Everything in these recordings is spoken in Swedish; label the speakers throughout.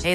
Speaker 1: Hey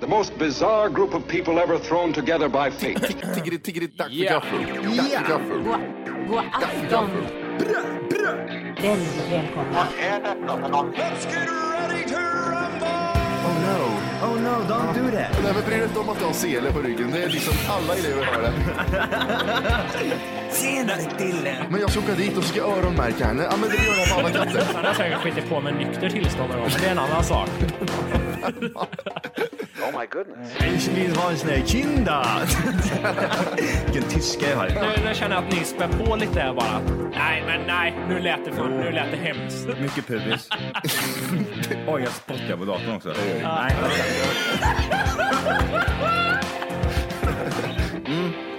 Speaker 2: The most bizarre group of people ever thrown together by fate.
Speaker 3: Tiggeri, tiggeri, tack för gaffel. Tack för gaffel.
Speaker 4: God afton! Väldigt välkomna.
Speaker 3: Oh no. Oh no, don't do that. Nej, men bry dig inte om att du har sele på ryggen. Det är liksom alla elever har det.
Speaker 5: Senare killen!
Speaker 3: Men jag ska åka dit och ska öronmärka henne. Ja, men det gör jag på alla katter.
Speaker 6: Han har säkert skitit på med nykter tillstånd någon gång, men det är en annan sak.
Speaker 7: Ich will was ne Kinder. Vilken tyska jag har.
Speaker 6: Nu, nu känner jag att ni spär på lite här bara. Nej, men nej, nu lät det för, nu lät det hemskt.
Speaker 7: Mycket pubis. Oj, jag spottar på datorn också. Nej.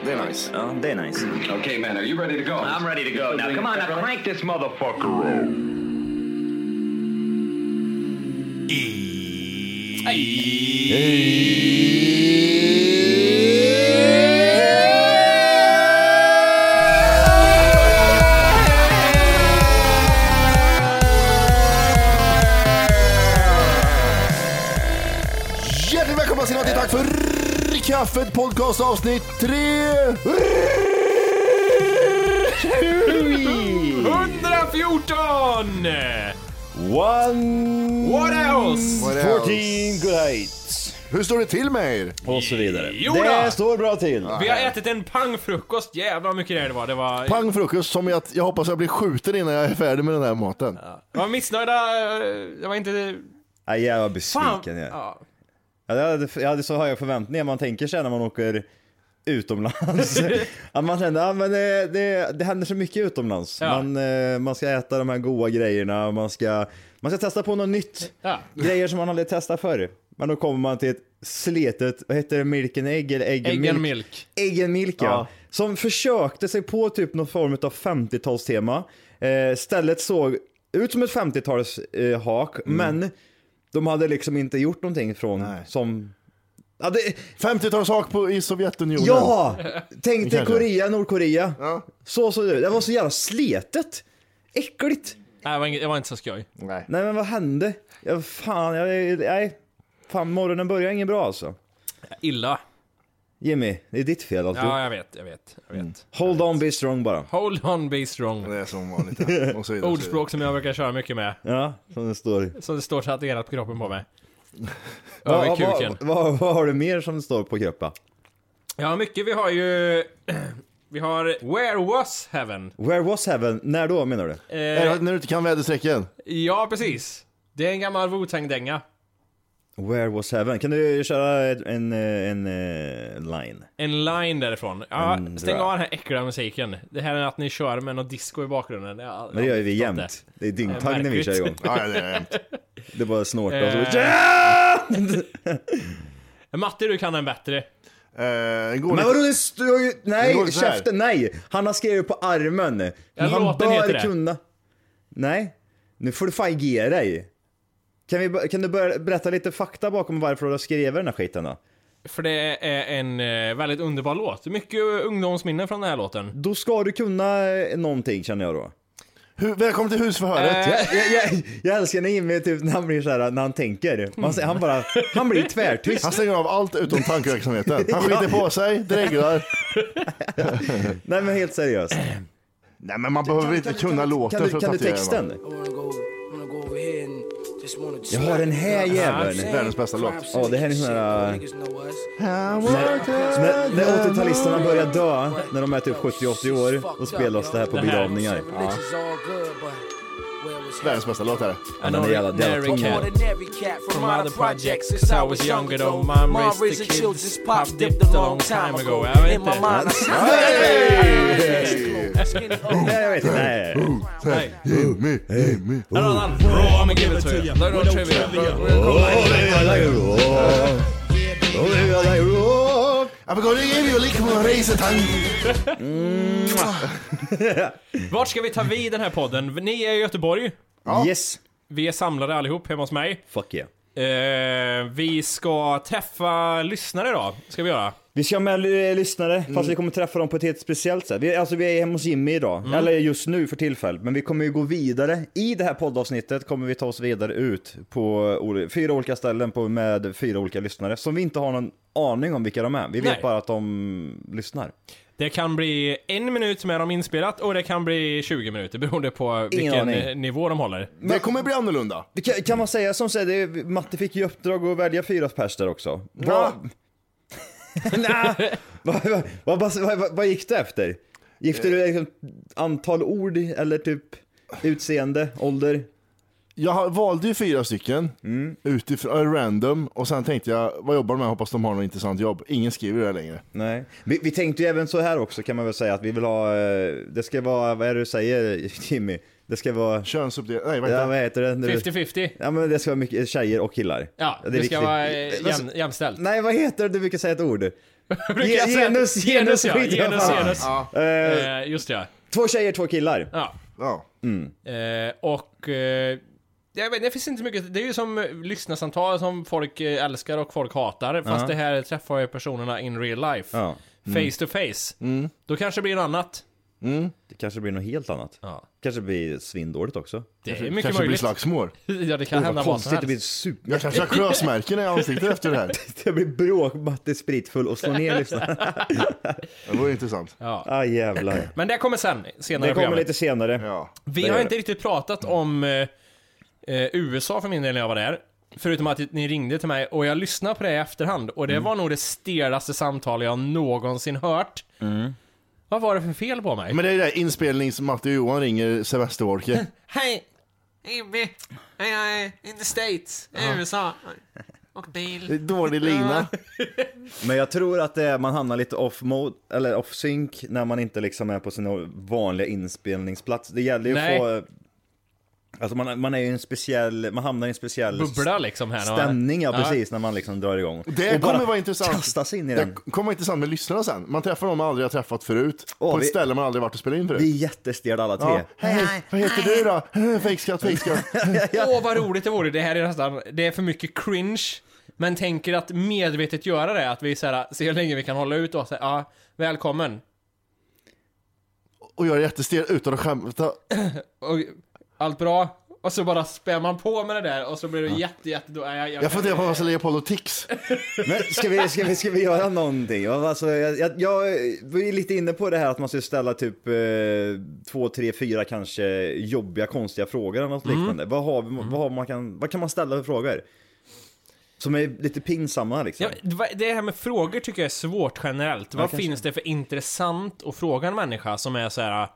Speaker 3: Det är nice.
Speaker 7: Ja, det är nice.
Speaker 2: okay, man, are you ready to go?
Speaker 5: I'm ready to go. Now come on, now crank this motherfucker.
Speaker 3: Hjärtligt välkomna ska ni vara till Tack för kaffet podcast avsnitt
Speaker 6: 114!
Speaker 7: One...
Speaker 6: What else?
Speaker 7: 14 good heights.
Speaker 3: Hur står det till med er?
Speaker 7: Och så vidare.
Speaker 6: Jo då!
Speaker 7: det står bra till.
Speaker 6: Vi har ätit en pangfrukost, jävlar vad mycket det var. Det var,
Speaker 3: Pang frukost som jag, jag hoppas jag blir skjuten innan jag är färdig med den här maten.
Speaker 6: det var missnöjda, eh, det var inte...
Speaker 7: Nej, jag var
Speaker 6: Fan!
Speaker 7: besviken. Jag.
Speaker 6: Ja.
Speaker 7: Ja, det hade, jag hade så höga förväntningar man tänker sig när man åker utomlands. att man kände, ja, men det, det, det händer så mycket utomlands.
Speaker 6: Ja.
Speaker 7: Man, eh, man ska äta de här goda grejerna, man ska, man ska testa på något nytt.
Speaker 6: Ja.
Speaker 7: Grejer som man aldrig testat förr. Men då kommer man till ett sletet, vad heter det, Milk and Egg eller Egg and
Speaker 6: Egg
Speaker 7: Milk?
Speaker 6: and milk.
Speaker 7: Egg and Milk ja. Som försökte sig på typ någon form av 50-talstema. Eh, stället såg ut som ett 50-talshak, eh, hak,
Speaker 3: Mm.
Speaker 7: men de hade liksom inte gjort någonting från som... Ja, det...
Speaker 3: 50-talshak på- i Sovjetunionen.
Speaker 7: ja! Tänk dig
Speaker 3: Kanske.
Speaker 7: Korea, Nordkorea.
Speaker 3: Ja.
Speaker 7: Så såg det ut. Det var så jävla sletet. Äckligt.
Speaker 6: Nej, det var, inget, det var inte så skoj.
Speaker 3: Nej.
Speaker 7: Nej men vad hände? Ja, fan, jag, nej. Fan, morgonen börjar inget bra alltså.
Speaker 6: Illa.
Speaker 7: Jimmy, det är ditt fel alltihop.
Speaker 6: Ja, jag vet, jag vet, jag vet.
Speaker 7: Hold on, be strong bara.
Speaker 6: Hold on, be strong.
Speaker 3: Det är som vanligt. ja. Och så vidare.
Speaker 6: Ordspråk som jag brukar köra mycket med,
Speaker 7: Ja, som det står.
Speaker 6: som det står tatuerat på kroppen på mig.
Speaker 7: Ja,
Speaker 6: Över kuken.
Speaker 7: vad, vad, vad har du mer som står på kroppen?
Speaker 6: Ja, mycket. Vi har ju... Vi har Where was heaven?
Speaker 7: Where was heaven? När då menar du?
Speaker 3: Är
Speaker 6: Eh.
Speaker 3: det Eh, när du inte kan väderstrecken?
Speaker 6: Ja, precis. Det är en gammal Wu-Tang-dänga.
Speaker 7: Where was heaven? Kan du köra en, en, eh, line?
Speaker 6: En line därifrån. Ja,
Speaker 7: Mm,
Speaker 6: stäng
Speaker 7: bra.
Speaker 6: av den här äckliga musiken. Det här är att ni kör med någon disco i bakgrunden. Ja,
Speaker 7: Men det gör ju vi
Speaker 6: jag har inte
Speaker 7: jämt.
Speaker 6: förstått
Speaker 7: Det är dyngtagg
Speaker 6: märkligt.
Speaker 7: när vi kör igång.
Speaker 3: Ja, det är jämt.
Speaker 7: Det bara snortar och så...
Speaker 6: Eh.
Speaker 7: Ja!
Speaker 6: det. Matte, du kan den bättre.
Speaker 3: Eh, går
Speaker 7: Men
Speaker 3: det-
Speaker 7: vadå det står ju...
Speaker 3: går
Speaker 7: Nej!
Speaker 3: så här.
Speaker 7: Käften, nej! Han har skrivit på armen. Men han
Speaker 6: låten heter det.
Speaker 7: kunna... Nej. Nu får du fan ge dig. Kan, vi, bör- kan du börja berätta lite fakta bakom varför du har skrivit den här skiten då?
Speaker 6: För det är en eh, väldigt underbar låt. Mycket ungdomsminnen från den här låten.
Speaker 7: Då ska du kunna eh, någonting känner jag då.
Speaker 3: Hu- Välkommen till husförhöret.
Speaker 7: Jag, jag, jag, jag älskar när Jimmy typ, när han blir så här, när han tänker. Man, ser- han, bara, han blir tvärtyst.
Speaker 3: Han stänger av allt utom tankeverksamheten. Han skiter på sig, dreglar.
Speaker 7: Nej men helt seriöst.
Speaker 3: Nej men man behöver inte kunna låten
Speaker 7: Kan du,
Speaker 3: för att
Speaker 7: kan du
Speaker 3: tatuera den.
Speaker 7: texten? Jag har den här jäveln.
Speaker 3: Världens bästa låt.
Speaker 7: Ja, det här är en sån här... När, när 80-talisterna börjar dö, när de är typ 70-80 år, då spelas det här på begravningar. Ja.
Speaker 3: Världens bästa låt är det.
Speaker 7: men det är jävla- det är jävla
Speaker 6: ordinary
Speaker 7: tungt.
Speaker 6: cat.
Speaker 8: From other projects since I was younger though Mom raised the kids Pop dipped a long time ago
Speaker 6: Jag vet
Speaker 8: In my
Speaker 6: inte.
Speaker 8: mind I see
Speaker 7: Nej, jag vet inte. Nej.
Speaker 3: Jimmy, Jimmy.
Speaker 8: Bro, I'ma give it to you Learn on
Speaker 3: I'm gonna give you a lick my razor tongue.
Speaker 6: Vart ska vi ta vid den här podden? Ni är i Göteborg.
Speaker 7: Yes.
Speaker 6: Vi är samlade allihop hemma hos mig.
Speaker 7: Fuck yeah.
Speaker 6: Eh, vi ska träffa lyssnare idag. Ska vi göra.
Speaker 7: Vi ska ha med eh, lyssnare, fast vi kommer träffa dem på ett helt speciellt sätt. Vi, alltså, vi är hemma hos Jimmy idag, eller just nu för tillfället, men vi kommer ju gå vidare. I det här poddavsnittet kommer vi ta oss vidare ut på ol- fyra olika ställen på, med fyra olika lyssnare som vi inte har någon aning om vilka de är. Vi vet
Speaker 6: Nej.
Speaker 7: bara att de lyssnar.
Speaker 6: Det kan bli en minut med dem inspelat och det kan bli 20 minuter beroende på vilken
Speaker 7: aning.
Speaker 6: eh, nivå de håller.
Speaker 3: Det kommer bli annorlunda.
Speaker 7: Det Kan, kan man säga som säger, det är- Matte fick ju uppdrag att välja fyra pers där också.
Speaker 3: Ja.
Speaker 7: Nja. vad, vad, vad, vad, vad, vad gick det efter? Gick det liksom antal ord eller typ utseende, ålder?
Speaker 3: Jag har- valde ju fyra stycken
Speaker 7: Mm.
Speaker 3: utifrån äh, random och sen tänkte jag, vad jobbar de med? Hoppas de har något intressant jobb. Ingen skriver det här längre.
Speaker 7: Nej. Vi, vi tänkte ju även så här också kan man väl säga att vi vill ha, eh, det ska vara, vad är det du säger Jimmy? Det ska vara,
Speaker 3: Könsuppdelning, nej vad
Speaker 7: ja,
Speaker 3: heter
Speaker 7: vad
Speaker 3: det?
Speaker 7: heter det? nu?
Speaker 6: 50-50.
Speaker 7: Ja men det ska vara mycket tjejer och killar.
Speaker 6: Ja, det,
Speaker 7: viktigt.
Speaker 6: ska vara eh,
Speaker 7: Eh,
Speaker 6: jäm, jämställt.
Speaker 7: Nej vad heter det du brukar säga ett ord?
Speaker 6: Brukar jag säga-
Speaker 7: Genus, genus,
Speaker 6: genus, ja,
Speaker 7: skit i alla
Speaker 6: genus,
Speaker 7: fall.
Speaker 6: genus.
Speaker 7: Eh,
Speaker 6: Eh, just det,
Speaker 7: Två tjejer, två killar.
Speaker 6: ja.
Speaker 3: Ja.
Speaker 6: ja. Eh, och... Eh, jag vet, det finns inte mycket... Det är ju som eh, lyssnarsamtal som folk eh, älskar och folk hatar. Fast det här träffar ju personerna in real life.
Speaker 7: Ja.
Speaker 6: Face to face. Då kanske det blir något annat.
Speaker 7: Det kanske blir något helt annat.
Speaker 6: Ja.
Speaker 7: Kanske blir svindåligt också.
Speaker 6: Det är mycket
Speaker 3: Kanske blir
Speaker 6: möjligt.
Speaker 3: slagsmål.
Speaker 6: ja, det kan hända vad som
Speaker 7: Konstigt, det blir
Speaker 6: helst.
Speaker 7: super...
Speaker 3: Jag kanske har klösmärken i ansiktet efter det här.
Speaker 7: Det blir bråk, Matte är spritfull och slår ner lyssnarna.
Speaker 3: Det vore intressant.
Speaker 6: Ja.
Speaker 7: Ah jävlar.
Speaker 6: Men det kommer sen, senare
Speaker 7: Det
Speaker 6: i
Speaker 7: kommer
Speaker 6: programmet.
Speaker 7: lite senare.
Speaker 3: Ja.
Speaker 6: Vi
Speaker 7: Det Mm.
Speaker 6: har
Speaker 7: gör
Speaker 6: inte riktigt pratat om eh, eh, USA för min del när jag var där. Förutom att ni ringde till mig och jag lyssnade på det i efterhand och det
Speaker 7: Mm.
Speaker 6: var nog det stelaste samtal jag någonsin hört.
Speaker 7: Mm.
Speaker 6: Vad var det för fel på mig?
Speaker 3: Men det är det där inspelnings-Matte och Johan ringer Semesterwalker.
Speaker 8: Hej! Jimmy! Hej, hej! In the States! I USA! Och bil!
Speaker 3: Dålig lina.
Speaker 7: Men jag tror att det är, man hamnar lite off mode, eller off sync, när man inte liksom är på sin vanliga inspelningsplats. Det gäller ju
Speaker 6: Nej.
Speaker 7: att få... Alltså man, man är ju i en speciell, man hamnar i en speciell
Speaker 6: Bubbla liksom här. när man-
Speaker 7: stämning, ja precis, när man liksom drar igång.
Speaker 3: Det
Speaker 7: bara
Speaker 3: kommer vara intressant.
Speaker 7: kasta sig in i
Speaker 3: Det
Speaker 7: den.
Speaker 3: kommer vara intressant med lyssnarna sen. Man träffar dem man aldrig har träffat förut.
Speaker 7: Åh,
Speaker 3: på ett
Speaker 7: vi-
Speaker 3: ställe man aldrig varit och spelat in
Speaker 7: Vi är
Speaker 3: förut.
Speaker 7: jättestelade alla tre.
Speaker 3: Ja. Hej, vad heter du då? Fejkskatt, fejkskatt.
Speaker 6: Åh vad roligt det vore, det här är nästan, det är för mycket cringe. Men tänker att medvetet göra det, att vi så här, ser hur länge vi kan hålla ut och säga ja, välkommen.
Speaker 3: Och jag är jättestel utan att skämta.
Speaker 6: Och, allt bra? Och så bara spär man på med det där och så blir det jätte, jätte... Då, jag, jag,
Speaker 3: Jag funderar på vad jag ska lägga på Lotix.
Speaker 7: Men ska vi, ska vi, ska vi göra någonting? Alltså, jag, jag, jag var lite inne på det här att man ska ställa typ eh, två, tre, fyra kanske jobbiga, konstiga frågor eller något liknande. Vad, har, vi- vad, har man kan, vad kan man ställa för frågor? Som är lite pinsamma liksom.
Speaker 6: Ja, det var- det här med frågor tycker jag är svårt generellt. Vad
Speaker 7: kanske.
Speaker 6: finns det för intressant att fråga en människa som är så här.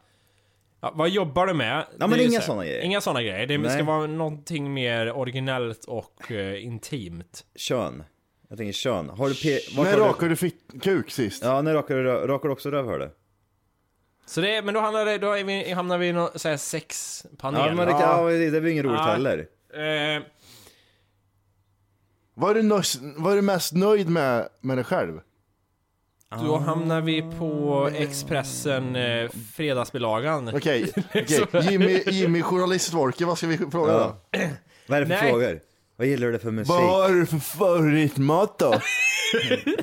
Speaker 6: Ja, vad jobbar du med?
Speaker 7: men
Speaker 6: Det är ju
Speaker 7: inga
Speaker 6: så här-
Speaker 7: såna grejer.
Speaker 6: Inga såna grejer. Det
Speaker 7: Nej.
Speaker 6: ska vara någonting mer originellt och eh, intimt.
Speaker 7: Kön. Jag tänker kön. Har du pe- vart
Speaker 3: När
Speaker 7: har
Speaker 3: rakade du fitt- kuk sist?
Speaker 7: Du... Ja, när rakar du, rö- rakar du också rövhålet?
Speaker 6: Så det, men då hamnar, det, då är vi, hamnar vi i någon så här sexpanel.
Speaker 7: Ja, men det, kan, ja, det det blir inget roligt
Speaker 6: Ja.
Speaker 7: heller.
Speaker 6: Eh,
Speaker 3: Vad är, du nös- vad är du mest nöjd med med dig själv?
Speaker 6: då hamnar vi på Expressen eh,
Speaker 7: Ah.
Speaker 6: fredagsbilagan.
Speaker 3: Okej, okej. Jimmy, Jimmy journalistvorke, vad ska vi fråga då?
Speaker 7: Ja. Vad är det för
Speaker 6: Nej.
Speaker 7: frågor? Vad gillar du för musik?
Speaker 3: Vad har du för favoritmat då?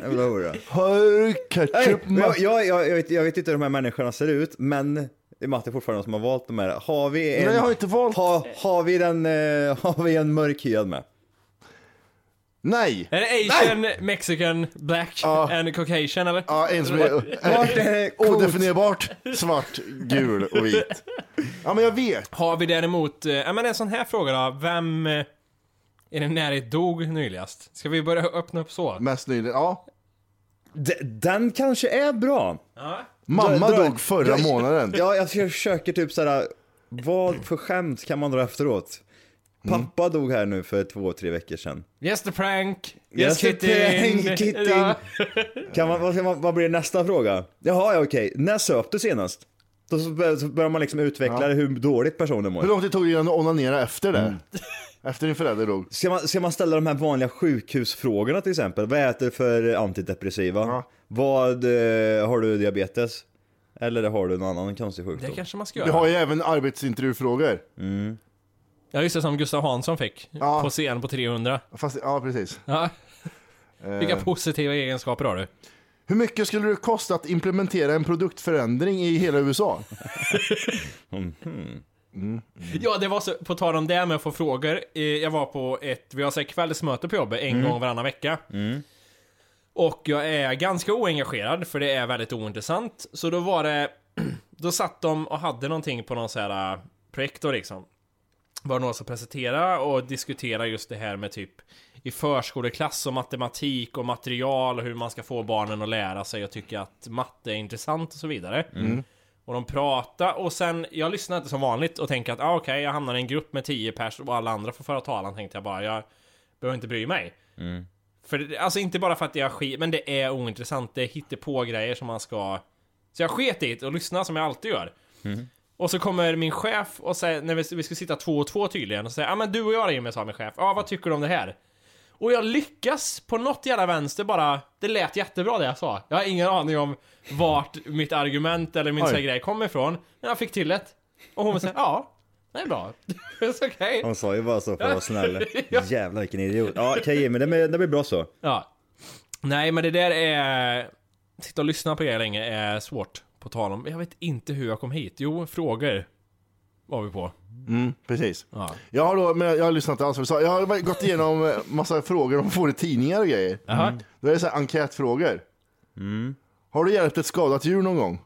Speaker 7: Jag vill höra.
Speaker 3: Har du
Speaker 7: Nej, men
Speaker 3: ketchupmat?
Speaker 7: jag, jag, jag, vet, jag vet inte hur de här människorna ser ut, men det är Matti fortfarande som har valt de här. Har vi en,
Speaker 3: Nej, jag har inte valt.
Speaker 7: Ha, har, vi den, eh, har vi en mörkhyad med?
Speaker 3: Nej!
Speaker 6: Är det asian, mexican, black
Speaker 3: Ja.
Speaker 6: and caucasian eller?
Speaker 3: Ja, en som är,
Speaker 7: Vart är det coolt?
Speaker 3: odefinierbart svart, gul och vit. Ja, men jag vet.
Speaker 6: Har vi däremot, eh, ja men en sån här fråga då, vem eh, är det närhet dog nyligast? Ska vi börja öppna upp så?
Speaker 3: Mest nyligen, ja.
Speaker 7: D- Den kanske är bra.
Speaker 3: Mamma
Speaker 7: Dra- dra-
Speaker 3: dog förra
Speaker 7: dra-
Speaker 3: månaden.
Speaker 7: Ja, jag försöker typ såhär, vad för skämt kan man dra efteråt?
Speaker 3: Mm.
Speaker 7: Pappa dog här nu för två, tre veckor sedan.
Speaker 6: Yes the prank!
Speaker 7: Yes,
Speaker 6: Yes,
Speaker 7: the prank, Kitting.
Speaker 6: Ja.
Speaker 7: Kan man, vad, ska man, vad blir nästa fråga? Jaha, ja okej. När söp du senast? Då så bör- så börjar man liksom utveckla hur dåligt personen
Speaker 3: Hur
Speaker 7: mår.
Speaker 3: lång tid tog det innan du onanerade efter det? Efter din förälder dog?
Speaker 7: Ska man, ska man ställa de här vanliga sjukhusfrågorna till exempel? Vad äter du för antidepressiva? Vad, eh, har du diabetes? Eller har du någon annan konstig
Speaker 6: Det
Speaker 7: sjukdom?
Speaker 6: kanske man ska
Speaker 3: Du
Speaker 6: göra.
Speaker 3: har ju även arbetsintervjufrågor.
Speaker 6: Ja just det, som Gustav Hansson fick.
Speaker 3: Ja.
Speaker 6: På scen på 300.
Speaker 3: Fast, ja, precis.
Speaker 6: Ja. Vilka
Speaker 3: Eh,
Speaker 6: positiva egenskaper har du?
Speaker 3: hur mycket skulle det kosta att implementera en produktförändring i hela USA?
Speaker 6: Ja, det var så, på tal om det med att få frågor. Eh, jag var på ett, vi har så här kvällsmöte på jobbet en gång varannan vecka. Och jag är ganska oengagerad, för det är väldigt ointressant. Så då var det, då satt de och hade någonting på någon så här eh, projektor liksom. Var det någon som presenterade och diskuterade just det här med typ i förskoleklass och matematik och material och hur man ska få barnen att lära sig och tycka att matte är intressant och så vidare. Och de pratade och sen, jag lyssnade inte som vanligt och tänkte att ah, okej, jag hamnar i en grupp med 10 pers och alla andra får föra talan tänkte jag bara, jag behöver inte bry mig. För det- alltså inte bara för att jag skit, men det är ointressant, det hittar på grejer som man ska... Så jag sket i det och lyssnade som jag alltid gör. Och så kommer min chef och säger, när vi, vi ska sitta två och två tydligen, och säger ja ah, men du och jag Jimmy sa min chef, ja ah, vad tycker du om det här? Och jag lyckas på något jävla vänster bara, det lät jättebra det jag sa. Jag har ingen aning om vart mitt argument eller min
Speaker 3: Oj.
Speaker 6: så här grej kom ifrån, men jag fick till det. Och hon säger ja, det är bra. Det är okej.
Speaker 7: Han sa ju bara så för att vara snäll.
Speaker 6: Ja.
Speaker 7: Jävlar vilken idiot. Ja, okej men det, blir- det blir bra så.
Speaker 6: Ja. Nej, men det där är... Sitta och lyssna på er länge är svårt. På tal om... Jag vet inte hur jag kom hit. Jo, frågor var vi på.
Speaker 3: Precis.
Speaker 6: Ja.
Speaker 3: Jag har då, men jag har lyssnat inte alls vad du sa. Jag har gått igenom eh, massa frågor de får i tidningar och grejer. Mm.
Speaker 6: Jaha. Mm.
Speaker 3: Då är det så här enkätfrågor. Har du hjälpt ett skadat djur någon gång?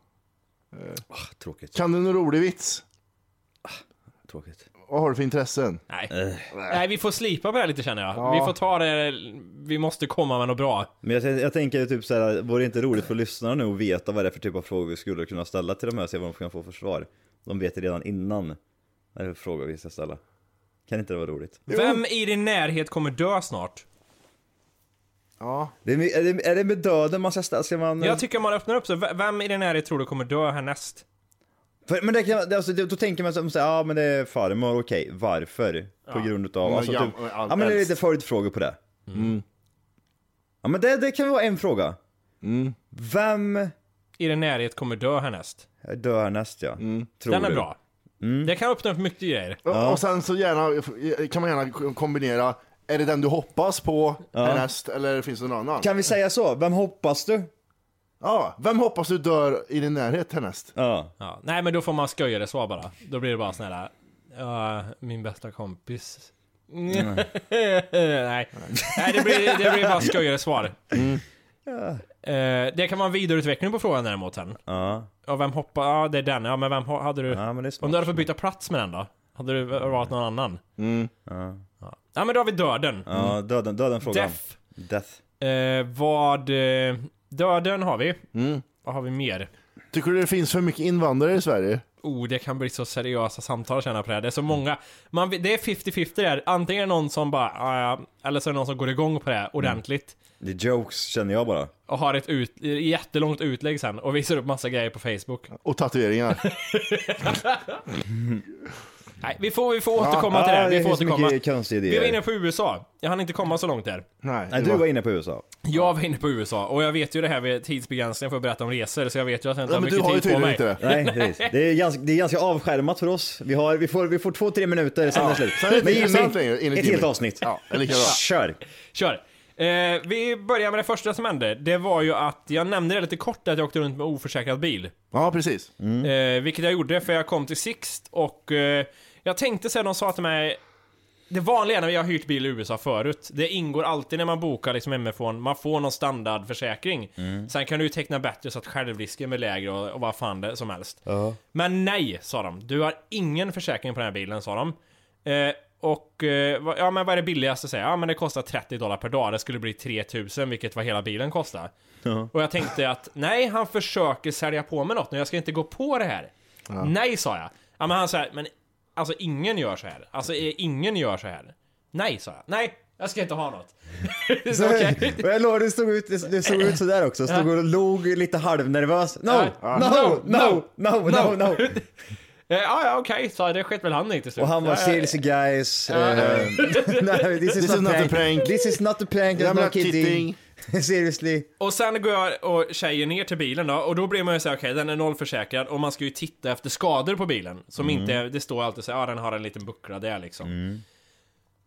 Speaker 7: Tråkigt,
Speaker 3: Kan du någon rolig vits?
Speaker 7: tråkigt.
Speaker 3: Vad har du för intressen?
Speaker 6: Nej. Nej, vi får slipa på det här lite känner jag. Vi får ta det... Vi måste komma med något bra.
Speaker 7: Men jag, jag tänker typ så här, vore det inte roligt för lyssnarna nu att veta vad det är för typ av frågor vi skulle kunna ställa till de här och se vad de kan få för svar? De vet det redan innan. Vad är det för frågor vi ska ställa? Kan inte det vara roligt?
Speaker 6: Vem i din närhet kommer dö snart?
Speaker 3: Ja.
Speaker 7: Det är, är, det, är det med döden man ska ställa? Ska man...
Speaker 6: Jag tycker man öppnar upp så. V- Vem i din närhet tror du kommer dö härnäst?
Speaker 7: för, men det kan, det, alltså, det, då tänker man så så här, ja men det är farmor, okej, varför? På grund utav, alltså,
Speaker 3: ja,
Speaker 7: typ,
Speaker 3: men
Speaker 7: ja
Speaker 3: allt
Speaker 7: men det är
Speaker 3: helst.
Speaker 7: lite följdfrågor på det.
Speaker 6: Mm.
Speaker 7: Mm. Ja men det, det kan vara en fråga.
Speaker 6: Mm.
Speaker 7: Vem
Speaker 6: I din närhet kommer dö härnäst?
Speaker 7: dör härnäst ja? Tror
Speaker 6: Mm. Den är
Speaker 7: du?
Speaker 6: bra. Det kan öppna upp mycket grejer.
Speaker 3: Och- Och sen så gärna, kan man gärna kombinera, är det den du hoppas på härnäst eller finns det någon annan?
Speaker 7: Kan vi säga så? Vem hoppas du?
Speaker 3: Ja, vem hoppas du dör i din närhet härnäst?
Speaker 7: Ja.
Speaker 6: Ja, nej men då får man sköja det så bara. Då blir det bara sån här... "Ja, min bästa kompis.
Speaker 7: Mm.
Speaker 6: nej. nej, det blir, det blir bara skojigare svar.
Speaker 7: Mm.
Speaker 6: Eh, det kan vara en vidareutveckling på frågan däremot sen.
Speaker 7: Ja.
Speaker 6: Ja, vem hoppar... Ja, det är den. Ja, men vem ho- hade du...
Speaker 7: Ja, men det är smart.
Speaker 6: Om du hade fått byta plats med den då? Hade du varit någon annan? Ja. ja, men då har vi döden.
Speaker 7: Mm. Ja, döden, döden frågan.
Speaker 6: Death.
Speaker 7: Death.
Speaker 6: Eh, vad... eh, Döden har vi.
Speaker 7: Mm.
Speaker 6: Vad har vi mer?
Speaker 3: Tycker du det finns för mycket invandrare i Sverige?
Speaker 6: Oh, det kan bli så seriösa samtal känner jag på det här. Det är så
Speaker 3: Mm.
Speaker 6: många. Man, vet- det är 50-50 där. Antingen är det någon som bara, "Ah, ja, eller så är det någon som går igång på det här ordentligt.
Speaker 3: Mm.
Speaker 7: Det är jokes känner jag bara.
Speaker 6: Och har ett ut, jättelångt utlägg sen och visar upp massa grejer på Facebook.
Speaker 3: Och tatueringar?
Speaker 6: Nej, vi får, vi får återkomma till det. här.
Speaker 7: det
Speaker 6: Vi får
Speaker 7: finns
Speaker 6: återkomma.
Speaker 7: mycket konstiga
Speaker 6: Vi
Speaker 7: idéer.
Speaker 6: var inne på USA. Jag hann inte komma så långt där.
Speaker 3: Nej,
Speaker 7: Nej,
Speaker 3: det
Speaker 7: du var inne på USA.
Speaker 6: Jag var inne på USA och jag vet ju det här med tidsbegränsningen för att berätta om resor så jag vet ju att jag inte
Speaker 3: Ja,
Speaker 6: har
Speaker 3: men du
Speaker 6: mycket
Speaker 3: har ju
Speaker 6: tid på
Speaker 3: tydligen
Speaker 6: mig.
Speaker 3: inte det.
Speaker 7: Nej, precis. Det är ganska, det är ganska avskärmat för oss. Vi, har, vi, får, vi får två, tre minuter, sen är det slut.
Speaker 3: Sen är det
Speaker 7: Men
Speaker 3: intressant längre,
Speaker 7: Jimmy,
Speaker 3: enligt
Speaker 7: ett
Speaker 3: Jimmy.
Speaker 7: helt avsnitt.
Speaker 3: Ja, eller hur?
Speaker 7: Kör!
Speaker 6: Kör! Eh, vi börjar med det första som hände. Det var ju att jag nämnde det lite kort att jag åkte runt med oförsäkrad bil.
Speaker 3: Ja, precis.
Speaker 6: Eh, vilket jag gjorde för jag kom till Sixt och eh, jag tänkte så här, de sa till mig det vanliga när vi har hyrt bil i USA förut, det ingår alltid när man bokar liksom hemifrån, man får någon standardförsäkring. Sen kan du ju teckna bättre så att självrisken blir lägre och, och vad fan det som helst. Men nej, sa de. Du har ingen försäkring på den här bilen, sa de. Eh, och eh, vad- ja, men vad är det billigaste? Säger jag. Ja, men det kostar 30 dollar per dag. Det skulle bli 3000, vilket var hela bilen kostar. Och jag tänkte att nej, han försöker sälja på mig något nu. Jag ska inte gå på det här. Nej, sa jag. Ja, men han sa, men alltså ingen gör så här. Alltså eh, ingen gör så här. Nej, sa jag. Nej, jag ska inte ha något. så, okej.
Speaker 7: Och jag lovar, du stod ut, du stod ut sådär också. Stod och log lite halvnervös. No,
Speaker 6: Ja.
Speaker 7: no, no, no, no, no.
Speaker 6: Eh, Ja, ja, okej, sa jag. Det sket väl han i till slut.
Speaker 7: Och han var
Speaker 6: Ja, ja, ja.
Speaker 7: seriously guys. eh, no, this is not a prank. This is not a prank.
Speaker 3: I'm
Speaker 7: I'm not
Speaker 3: not
Speaker 7: kidding. Seriously.
Speaker 6: Och sen går jag och tjejer ner till bilen då, och då blir man ju såhär, okej den är nollförsäkrad och man ska ju titta efter skador på bilen. Som inte, det står alltid såhär, ja den har en liten buckla där liksom.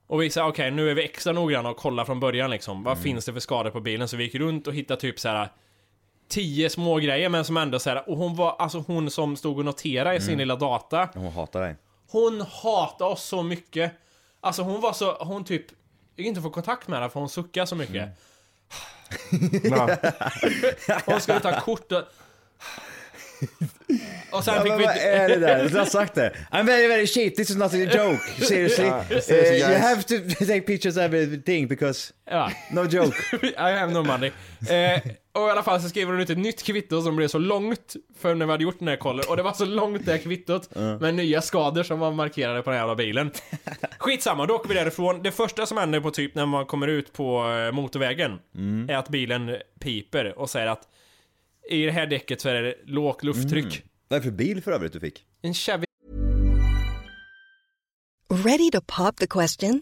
Speaker 6: Och vi säger okej nu är vi extra noggranna och kollar från början liksom, vad finns det för skador på bilen? Så vi gick runt och hittade typ så här. Tio små grejer men som ändå såhär, och hon var, alltså hon som stod och noterade i sin lilla data.
Speaker 7: Hon hatar dig.
Speaker 6: Hon hatade oss så mycket. Alltså hon var så, hon typ, jag kan inte få kontakt med henne för hon suckar så mycket. hon skulle ta kort och... Och sen
Speaker 7: Ja,
Speaker 6: fick
Speaker 7: men
Speaker 6: vi...
Speaker 7: vad är det där? Du har sagt det. I'm very very cheap, this is not a joke. Seriously. Eh, you
Speaker 3: guys.
Speaker 7: have to take pictures of everything because
Speaker 6: Ja.
Speaker 7: no joke.
Speaker 6: I have no money. Eh, och i alla fall så skriver hon ut ett nytt kvitto som blev så långt för när vi hade gjort den här kollen. Och det var så långt det här kvittot med nya skador som var markerade på den här jävla bilen. Skitsamma, då åker vi därifrån. Det första som händer på typ när man kommer ut på eh, motorvägen är att bilen piper och säger att i det här däcket så är det lågt lufttryck.
Speaker 7: Vad är det för bil för övrigt du fick?
Speaker 6: En Chevy
Speaker 9: Ready to pop the question?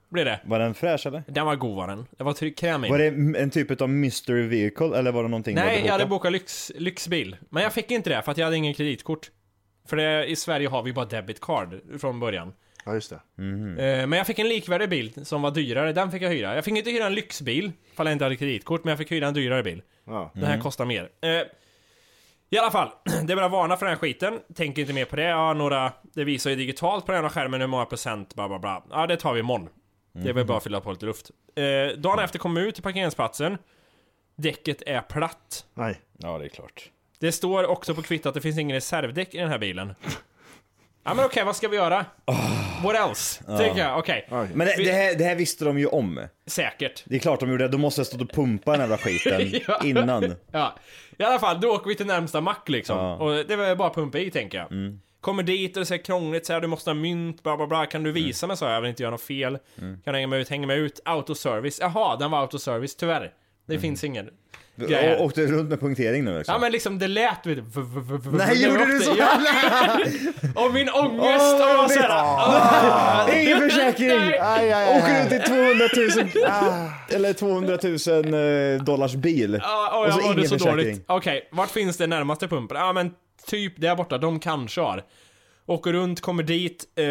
Speaker 6: blir det.
Speaker 7: Var den fräsch eller?
Speaker 6: Den var god var den. Det var tryck- krämig.
Speaker 7: Var det en typ av mystery vehicle eller var det någonting du
Speaker 6: Nej, jag hade
Speaker 7: bokat?
Speaker 6: bokat lyx, lyxbil. Men jag fick inte det för att jag hade ingen kreditkort. För det, i Sverige har vi bara debit card från början.
Speaker 3: Ja, just det.
Speaker 6: Eh, Men jag fick en likvärdig bil som var dyrare, den fick jag hyra. Jag fick inte hyra en lyxbil, ifall jag inte hade kreditkort, men jag fick hyra en dyrare bil.
Speaker 3: Ja.
Speaker 6: Den här kostar mer. Eh, I alla fall, det är bara att varna för den här skiten. Tänk inte mer på det. Ja, några, det visar ju digitalt på den här skärmen hur många procent, bla bla bla. Ja, det tar vi imorgon. Det är väl bara att fylla på lite luft. Eh, dagen efter kom jag ut till parkeringsplatsen. Däcket är platt.
Speaker 3: Nej.
Speaker 7: Ja, det är klart.
Speaker 6: Det står också på kvittot att det finns ingen reservdäck i den här bilen. Ja men okej, vad ska vi göra? What else? Tänker jag, okej.
Speaker 7: Men det, det, här, det här visste de ju om.
Speaker 6: Säkert.
Speaker 7: Det är klart de gjorde det. De måste ha stått och pumpat den jävla skiten innan.
Speaker 6: Ja. I alla fall, då åker vi till närmsta mack liksom. Och det var bara att pumpa i tänker jag.
Speaker 7: Mm.
Speaker 6: Kommer dit och det är så här krångligt, så här, du måste ha mynt, bla bla bla. Kan du
Speaker 7: Mm.
Speaker 6: visa mig så jag vill inte göra något fel. Kan du hänga mig ut, hänga mig ut. Autoservice, jaha, den var autoservice, tyvärr. Det finns ingen grej här.
Speaker 7: Mm. Och åkte runt med punktering nu liksom.
Speaker 6: Ja men liksom det lät vet du, v- v- v- v-
Speaker 7: Nej,
Speaker 6: när vi
Speaker 7: gjorde du
Speaker 6: åkte.
Speaker 7: så?
Speaker 6: Ja. Och min ångest, och jag var såhär... "Ah."
Speaker 7: Ingen försäkring!
Speaker 6: Nej.
Speaker 3: Aj, aj, aj.
Speaker 7: Åker ut i 200 000, Ah. eller 200 000 eh, dollars bil.
Speaker 6: Ja, och jag mådde så dåligt. Okej, vart finns det närmaste pumpen? Ja men typ där borta, de kanske har. Åker runt, kommer dit. Eh,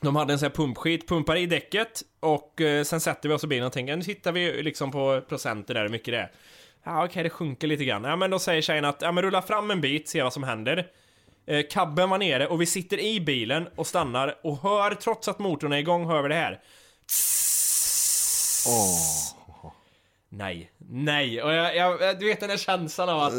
Speaker 6: de hade en sån här pumpskit, pumpar i däcket och eh, sen sätter vi oss i bilen och tänker nu tittar vi liksom på procenten där hur mycket det är. Ja okej, det sjunker lite grann. Ja men då säger tjejen att ja men rulla fram en bit, se vad som händer. Eh, Cabben var nere och vi sitter i bilen och stannar och hör, trots att motorn är igång, hör vi det här. Nej, nej. Och jag, jag, du vet den där känslan av att...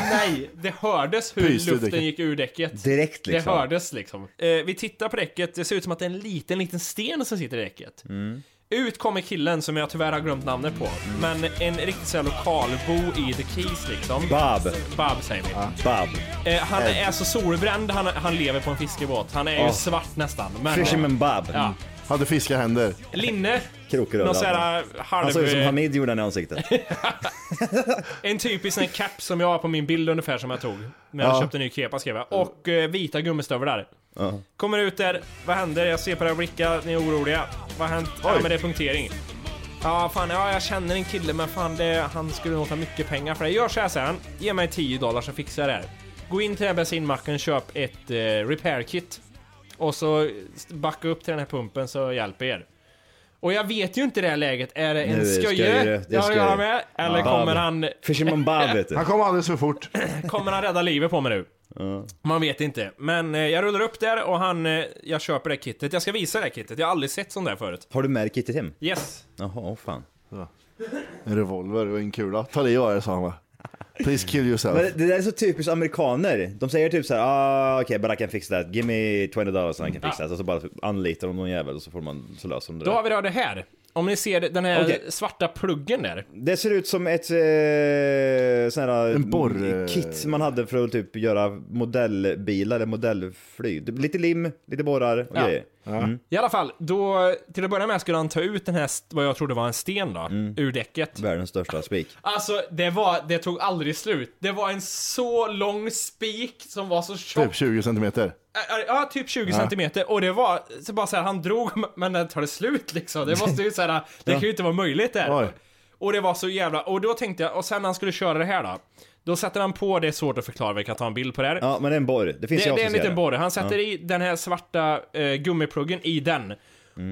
Speaker 6: nej, det hördes hur
Speaker 7: Pyste ur
Speaker 6: luften
Speaker 7: däcket.
Speaker 6: gick ur däcket.
Speaker 7: Direkt, liksom.
Speaker 6: Det hördes liksom. Eh, vi tittar på däcket, det ser ut som att det är en liten, liten sten som sitter i däcket.
Speaker 7: Mm.
Speaker 6: Ut kommer killen som jag tyvärr har glömt namnet på. Men en riktig sån här lokalbo i The Keys liksom.
Speaker 7: Bob.
Speaker 6: Bob säger vi.
Speaker 7: Bob.
Speaker 6: Eh, han
Speaker 7: Eh.
Speaker 6: är så solbränd, han, han lever på en fiskebåt. Han är
Speaker 7: Ja.
Speaker 6: ju svart nästan. Men...
Speaker 7: Fisherman Bob.
Speaker 6: Ja.
Speaker 3: Hade fiskarhänder.
Speaker 6: Linne,
Speaker 7: Krokröda.
Speaker 6: Någon sån här halv-
Speaker 7: Han såg ut som Hamid gjorde han i ansiktet.
Speaker 6: en typisk sån här cap som jag har på min bild ungefär som jag tog. När jag
Speaker 7: Ja.
Speaker 6: köpte en ny kepa skrev jag. Och eh, vita gummistövlar.
Speaker 7: Ja.
Speaker 6: Kommer ut där, vad händer? Jag ser på era blickar, ni är oroliga. Vad har hänt? Ja
Speaker 7: Oj.
Speaker 6: men det är punktering. Ja fan, ja jag känner en kille men fan det, han skulle nog ta mycket pengar för det. Gör så här säger han. Ge mig 10 dollar så fixar jag det här. Gå in till den här bensinmacken, köp ett eh, repair kit. Och så backa upp till den här pumpen så hjälper er. Och jag vet ju inte i det här läget, är det
Speaker 7: Nu
Speaker 6: en
Speaker 7: är det sköjare, det
Speaker 6: sköje
Speaker 7: är
Speaker 6: jag har att
Speaker 7: sköjare.
Speaker 6: göra med? Eller
Speaker 7: Ja.
Speaker 6: kommer
Speaker 7: Bob.
Speaker 6: han...
Speaker 7: Fisherman Bob vet du. Han
Speaker 3: kom alldeles för fort.
Speaker 6: kommer han rädda livet på mig nu? Man vet inte. Men eh, jag rullar upp där och han... Eh, jag köper det här kittet. Jag ska visa det här kittet. Jag har aldrig sett sånt där förut.
Speaker 7: Har du märkt kittet hem?
Speaker 6: Yes.
Speaker 7: Jaha, åh fan.
Speaker 3: En revolver och en kula. Ta livet av er, sa han va? Please kill yourself.
Speaker 7: Men det där är så typiskt amerikaner. De säger typ såhär, ah, okej, but I can fix that. Give me 20 dollars and I can fix that. Och så bara anlitar de någon jävel och så, får man, så löser de det
Speaker 6: Då
Speaker 7: där.
Speaker 6: har vi då det här. Om ni ser den här
Speaker 7: Okej.
Speaker 6: svarta pluggen där.
Speaker 7: Det ser ut som ett eh, sån här
Speaker 3: En borr- eh,
Speaker 7: kit man hade för att typ göra modellbilar eller modellflyg. Lite lim, lite borrar och
Speaker 6: Ja.
Speaker 7: grejer. Mm.
Speaker 6: I alla fall, då... Till att börja med skulle han ta ut den här, st- vad jag trodde var en sten då, ur däcket.
Speaker 7: Världens största spik.
Speaker 6: Alltså, det var... Det tog aldrig slut. Det var en så lång spik som var så tjock.
Speaker 3: Typ 20 centimeter.
Speaker 6: Ja, Ja, typ 20
Speaker 3: Ja.
Speaker 6: centimeter. Och det var så bara så här, han drog, men när tar det slut liksom? Det måste ju så här, det
Speaker 3: Ja.
Speaker 6: kan ju inte vara möjligt där.
Speaker 3: Oj.
Speaker 6: Och det var så jävla, och då tänkte jag, och sen när han skulle köra det här då. Då sätter han på, det är svårt att förklara, vi kan ta en bild på det här.
Speaker 7: Ja, men det är en borr. Det finns
Speaker 6: det,
Speaker 7: jag
Speaker 6: det
Speaker 7: som
Speaker 6: är en
Speaker 7: ser
Speaker 6: liten
Speaker 7: det.
Speaker 6: borre. Han sätter
Speaker 7: Ja.
Speaker 6: i den här svarta eh, gummipluggen i den.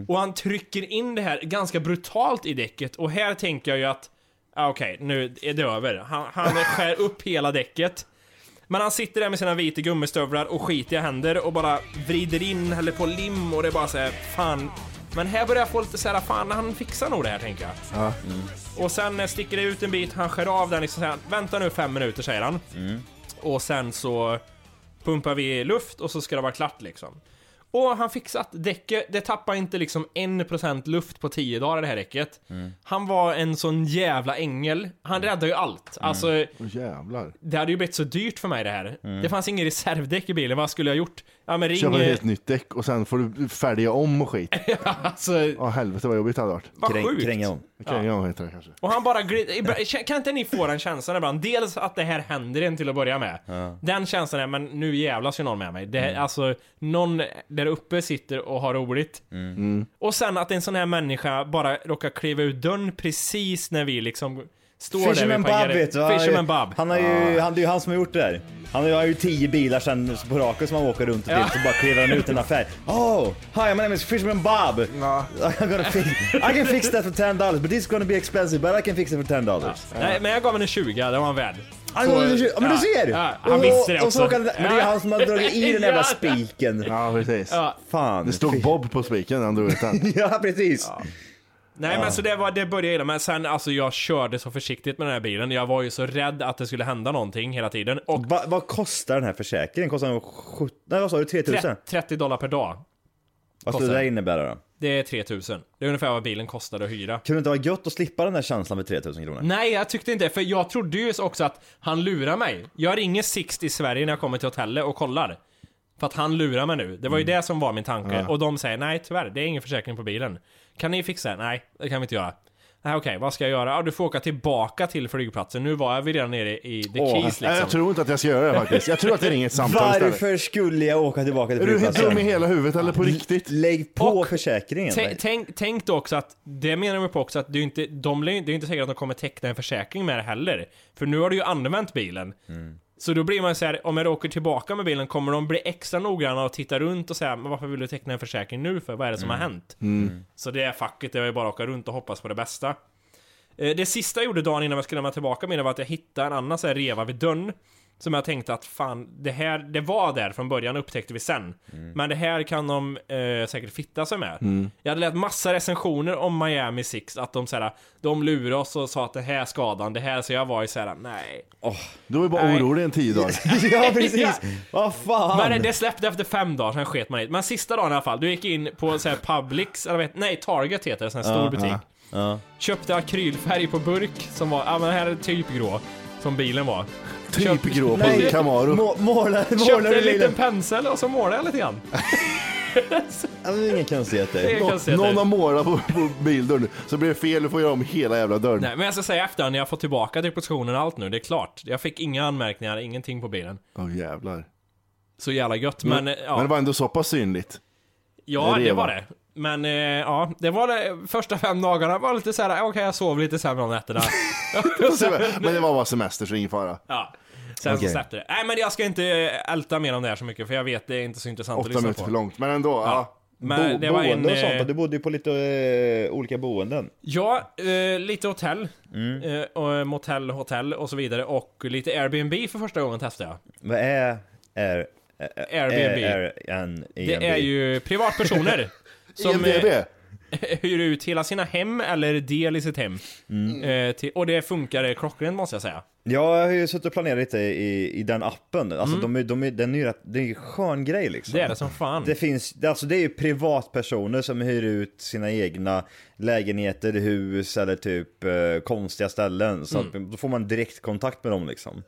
Speaker 6: Och han trycker in det här ganska brutalt i däcket. Och här tänker jag ju att, ah, okej, nu är det över. Han, han skär upp hela däcket. Men han sitter där med sina vita gummistövlar och skitiga händer och bara vrider in, häller på lim och det är bara såhär, fan. Men här börjar jag få lite såhär, fan han fixar nog det här tänker jag.
Speaker 3: Ja.
Speaker 6: Och sen eh, sticker det ut en bit, han skär av den liksom såhär, vänta nu fem minuter säger han. Och sen så pumpar vi luft och så ska det vara klart liksom. Och han fixat däcket, det tappar inte liksom 1% luft på 10 dagar det här däcket.
Speaker 3: Mm.
Speaker 6: Han var en sån jävla ängel. Han räddade ju allt.
Speaker 3: Mm.
Speaker 6: Alltså,
Speaker 3: Åh jävlar.
Speaker 6: det hade ju blivit så dyrt för mig det här.
Speaker 3: Mm.
Speaker 6: Det fanns ingen reservdäck i bilen, vad skulle jag gjort? Ja men ring...
Speaker 3: Köpa ett
Speaker 6: eh,
Speaker 3: helt nytt däck och sen får du färdiga om och skit.
Speaker 6: alltså...
Speaker 3: Ja helvete vad jobbigt det hade varit.
Speaker 6: Vad Kräng- sjukt. kränga om.
Speaker 3: Kränga om heter det kanske.
Speaker 6: Och han bara glid... ibland- Kan inte ni få den känslan ibland? Dels att det här händer en till att börja med. Den känslan är, men nu jävlas ju någon med mig. Det, Alltså, någon där uppe sitter och har roligt.
Speaker 3: Mm.
Speaker 6: Och sen att en sån här människa bara råkar kliva ut dörren precis när vi liksom står
Speaker 7: Fisherman
Speaker 6: där
Speaker 7: Bob
Speaker 6: vid
Speaker 7: vet du.
Speaker 6: parkeringen. Fisherman Bob.
Speaker 7: Han har ju, han, det är ju han som har gjort det där. Han har ju- har ju tio bilar sen på raken som han åker runt och till.
Speaker 6: Ja.
Speaker 7: Så bara kliver han ut i en affär. Oh, hi my name is Fisherman Bob. I'm gonna fix, I can fix that for 10 dollars but this is gonna be expensive but I can fix it for 10 dollars.
Speaker 6: Nej, men jag gav henne 20, det var han värd.
Speaker 7: Han
Speaker 6: Så-
Speaker 7: går under kyl- Ja, men du
Speaker 6: ja,
Speaker 7: ser!
Speaker 6: Ja, han visste det
Speaker 7: och, och så åker
Speaker 6: också.
Speaker 7: han, Men det är
Speaker 6: Ja.
Speaker 7: han som har dragit i den jävla
Speaker 6: Ja.
Speaker 7: spiken.
Speaker 3: Ja precis.
Speaker 6: Ja.
Speaker 7: Fan.
Speaker 3: Det stod Bob på spiken när han drog ut den.
Speaker 7: ja precis.
Speaker 6: Nej men så det, var, det började illa, men sen alltså jag körde så försiktigt med den här bilen. Jag var ju så rädd att det skulle hända någonting hela tiden. Och
Speaker 7: Va, vad kostar den här försäkringen? Kostar den 70, nej vad sa du, 3000?
Speaker 6: 30 dollar per dag.
Speaker 7: Vad skulle
Speaker 6: kostar
Speaker 7: det där
Speaker 6: den.
Speaker 7: innebära då?
Speaker 6: Det är 3000. Det är ungefär vad bilen kostade att hyra.
Speaker 7: Kunde det inte vara gött att slippa den där känslan med 3000
Speaker 3: Mm,
Speaker 7: kronor?
Speaker 6: Nej, jag tyckte inte för jag trodde ju också att han lurar mig. Jag ringer Sixt i Sverige när jag kommer till hotellet och kollar. För att han lurar mig nu. Det var ju det som var min tanke.
Speaker 3: Mm. Ja.
Speaker 6: Och de säger nej tyvärr, det är ingen försäkring på bilen. Kan ni fixa det? Nej, det kan vi inte göra. Nej okej, vad ska jag göra? Ja, du får åka tillbaka till flygplatsen. Nu var jag väl redan nere i The
Speaker 3: Åh,
Speaker 6: Keys
Speaker 3: nej,
Speaker 6: liksom.
Speaker 3: Jag tror inte att jag ska göra det faktiskt. Jag tror att det ringer ett samtal istället.
Speaker 7: Varför skulle jag åka tillbaka till
Speaker 3: Är du helt
Speaker 7: flygplatsen?
Speaker 3: dum i hela huvudet eller på riktigt?
Speaker 7: Lägg på försäkringen.
Speaker 6: Tänk- Tänk, tänk då också att, det menar de på också att det är ju inte, de, lär ju- det är inte säkert att de kommer teckna en försäkring med det heller. För nu har du ju använt bilen. Så då blir man så här, om jag åker tillbaka med bilen, kommer de bli extra noggranna och titta runt och säga men varför vill du teckna en försäkring nu för? Vad är det som har hänt?
Speaker 3: Mm.
Speaker 6: Så det är facket, det var ju bara att åka runt och hoppas på det bästa. Eh, Det sista jag gjorde dagen innan jag skulle lämna tillbaka mina var att jag hittade en annan så här reva vid dörren. Som jag tänkte att fan, det här, det var där från början upptäckte vi sen.
Speaker 7: Mm.
Speaker 6: Men det här kan de eh, säkert fitta sig med.
Speaker 3: Mm.
Speaker 6: Jag hade läst massa recensioner om Miami Six, att de såhär, de lurade oss och sa att det här är skadan, det här, så jag var ju såhär, nej.
Speaker 3: Du var ju bara
Speaker 6: Nej.
Speaker 3: orolig en tio dagar.
Speaker 7: ja, precis. Vad fan.
Speaker 6: Men det- det släppte efter fem dagar, sen sket man i det. Men sista dagen i alla fall, du gick in på så här Publix, eller vet, nej Target heter det, sån här stor
Speaker 7: Ja,
Speaker 6: butik.
Speaker 7: ja, ja.
Speaker 6: Köpte akrylfärg på burk som var, ja men det här är typ grå, som bilen var.
Speaker 3: Typ
Speaker 6: Köpt-
Speaker 3: grå på
Speaker 6: Nej.
Speaker 3: en Camaro.
Speaker 7: Må- Måla, måla
Speaker 6: Köpte en liten
Speaker 7: bilen.
Speaker 6: pensel och så målade jag lite grann.
Speaker 7: Ja, men Ingen kan se att det
Speaker 6: Det
Speaker 7: är.
Speaker 6: kan jag se
Speaker 3: Någon
Speaker 6: till.
Speaker 3: har målat på, på bildörren, så blir det fel, du får göra om hela jävla dörren.
Speaker 6: Nej, men jag ska säga efter när jag fått tillbaka depositionen och allt nu, det är klart. Jag fick inga anmärkningar, ingenting på bilen.
Speaker 3: Åh jävlar.
Speaker 6: Så jävla gött, men eh, ja.
Speaker 3: Men det var ändå så pass synligt.
Speaker 6: Ja, det
Speaker 3: Reva.
Speaker 6: var det. Men eh, ja, det var det första fem dagarna var lite såhär, okej jag sov lite sämre om nätterna. Och sen-
Speaker 3: Men det var bara semester så ingen fara.
Speaker 6: ja. Sen
Speaker 7: Okej.
Speaker 6: så släppte det. Nej men jag ska inte eh, älta mer om det här så mycket för jag vet det är inte så intressant att
Speaker 3: Åtta
Speaker 6: lyssna
Speaker 3: minuter
Speaker 6: på.
Speaker 3: för långt, men ändå. Ja.
Speaker 6: Men det var en...
Speaker 7: Boende och sånt,
Speaker 6: eh,
Speaker 7: och du bodde ju på lite eh, olika boenden.
Speaker 6: Ja, eh, lite hotell.
Speaker 3: Mm.
Speaker 6: Eh, och motell, hotell och så vidare. Och lite Airbnb för första gången testade jag.
Speaker 7: Vad är är
Speaker 6: Airbnb.
Speaker 7: Är, en,
Speaker 6: Det är ju privatpersoner. som eh,
Speaker 3: IMDB.
Speaker 6: hyr ut hela sina hem eller del i sitt hem.
Speaker 7: Mm.
Speaker 6: Eh, till, och det funkar klockrent måste jag säga.
Speaker 7: Ja, jag har ju suttit och planerat lite i, i den appen. Alltså, de, är- de, är- den är ju rätt, det är ju en skön grej liksom.
Speaker 6: Mm. Det är det som fan.
Speaker 7: Det finns, det- alltså det är ju privatpersoner som hyr ut sina egna lägenheter, hus eller typ eh, konstiga ställen. Så att,
Speaker 6: Mm.
Speaker 7: då får man direktkontakt med dem liksom.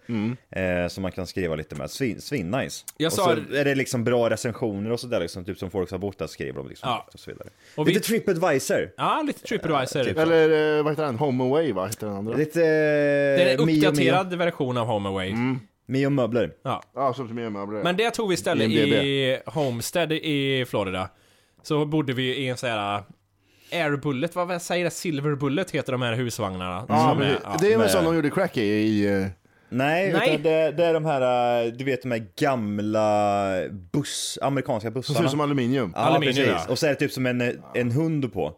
Speaker 7: Eh, som man kan skriva lite med. Svin, svin nice.
Speaker 6: Jag
Speaker 7: och
Speaker 6: sa-
Speaker 7: så är det liksom bra recensioner och sådär liksom. Typ som folk som har bott där skriver de liksom.
Speaker 6: Ja.
Speaker 7: Och så vidare.
Speaker 6: Och
Speaker 7: lite
Speaker 6: vi-
Speaker 7: Tripadvisor.
Speaker 6: Ja, lite Tripadvisor.
Speaker 7: typ.
Speaker 3: Eller eh, vad heter den? Home Away va? Heter den andra?
Speaker 7: Lite... eh,
Speaker 6: det är en
Speaker 7: Mio, Mm. Mio-
Speaker 6: uppdaterad version av HomeAway.
Speaker 7: Mio Möbler.
Speaker 6: Ja.
Speaker 3: Ja, som till mig
Speaker 6: Men det tog vi istället
Speaker 3: IMDb.
Speaker 6: i Homestead i Florida. Så bodde vi i en sån här eh, Air Bullet, vad vad säger det? Silver Bullet heter de här husvagnarna.
Speaker 3: Ja,
Speaker 6: som
Speaker 3: men
Speaker 6: är-
Speaker 3: det,
Speaker 6: ja.
Speaker 3: det är väl
Speaker 7: med-
Speaker 3: som de gjorde crack i, i eh,
Speaker 7: Nej,
Speaker 6: Nej.
Speaker 7: utan det, det är de här, eh, du vet de här gamla buss, amerikanska
Speaker 3: som ser
Speaker 7: bussarna.
Speaker 3: ut som aluminium.
Speaker 7: Ja,
Speaker 3: Ja.
Speaker 6: Aluminium,
Speaker 7: precis.
Speaker 6: ja.
Speaker 7: Och så är det typ som en, en hund på.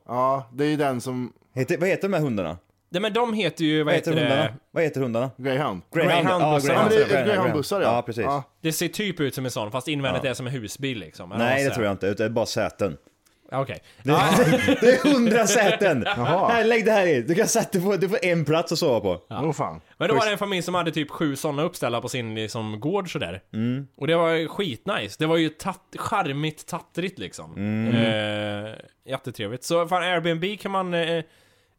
Speaker 3: det är ju den som
Speaker 7: Heter, vad heter de här hundarna?
Speaker 6: Nej men de heter ju, vad
Speaker 7: Vad heter
Speaker 6: heter
Speaker 7: hundarna?
Speaker 6: det?
Speaker 7: Vad heter hundarna?
Speaker 3: Greyhound.
Speaker 7: Ja,
Speaker 6: Greyhound-bussarna.
Speaker 3: Ja, men det är
Speaker 7: Greyhound,
Speaker 3: Greyhoundbussar ja.
Speaker 7: Ja, precis.
Speaker 6: Det ser typ ut som en sån, fast invändigt är som en husbil liksom. Eller
Speaker 7: Nej,
Speaker 6: vad
Speaker 7: det tror jag inte. utan Det är bara säten.
Speaker 6: säger- Okej.
Speaker 7: Det, det är hundra säten! Här, lägg det här i. Du kan sätta på, du får en plats att sova på.
Speaker 3: Åh fan.
Speaker 6: Men då var det en familj som hade typ sju sådana uppställda på sin liksom, gård sådär.
Speaker 7: Mm.
Speaker 6: Och det var ju skitnice. Det var ju tatt, charmigt tattrigt liksom.
Speaker 7: Mm.
Speaker 6: Eh, jättetrevligt. Så fan, Airbnb kan man eh,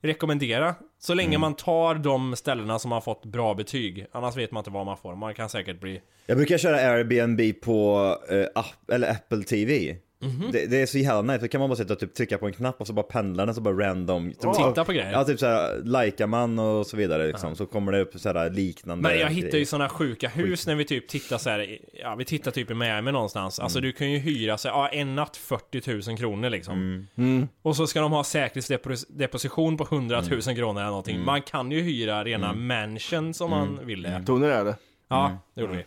Speaker 6: rekommendera. Så länge
Speaker 7: Mm.
Speaker 6: man tar de ställena som har fått bra betyg. Annars vet man inte vad man får. Man kan säkert bli...
Speaker 7: Jag brukar köra Airbnb på eh, app, eller Apple TV.
Speaker 6: Mhm.
Speaker 7: Det, det är så jävla nice, då kan man bara sitta och typ trycka på en knapp och så bara pendlar den så bara random. Typ,
Speaker 6: Titta på grejer.
Speaker 7: Ja, typ såhär, likar man och så vidare liksom. Så kommer det upp såhär liknande
Speaker 6: Men jag hittar ju
Speaker 7: grejer.
Speaker 6: sådana sjuka hus när vi typ tittar så här, i- ja vi tittar typ i Miami någonstans. Alltså du kan ju hyra så här, ja, en natt 40 000 kronor liksom.
Speaker 7: Mm.
Speaker 6: Och så ska de ha säkerhetsdeposition på 100 000 kronor eller någonting. Man kan ju hyra rena mansions om man vill det.
Speaker 3: Tog ni det eller?
Speaker 6: Ja, det gjorde vi.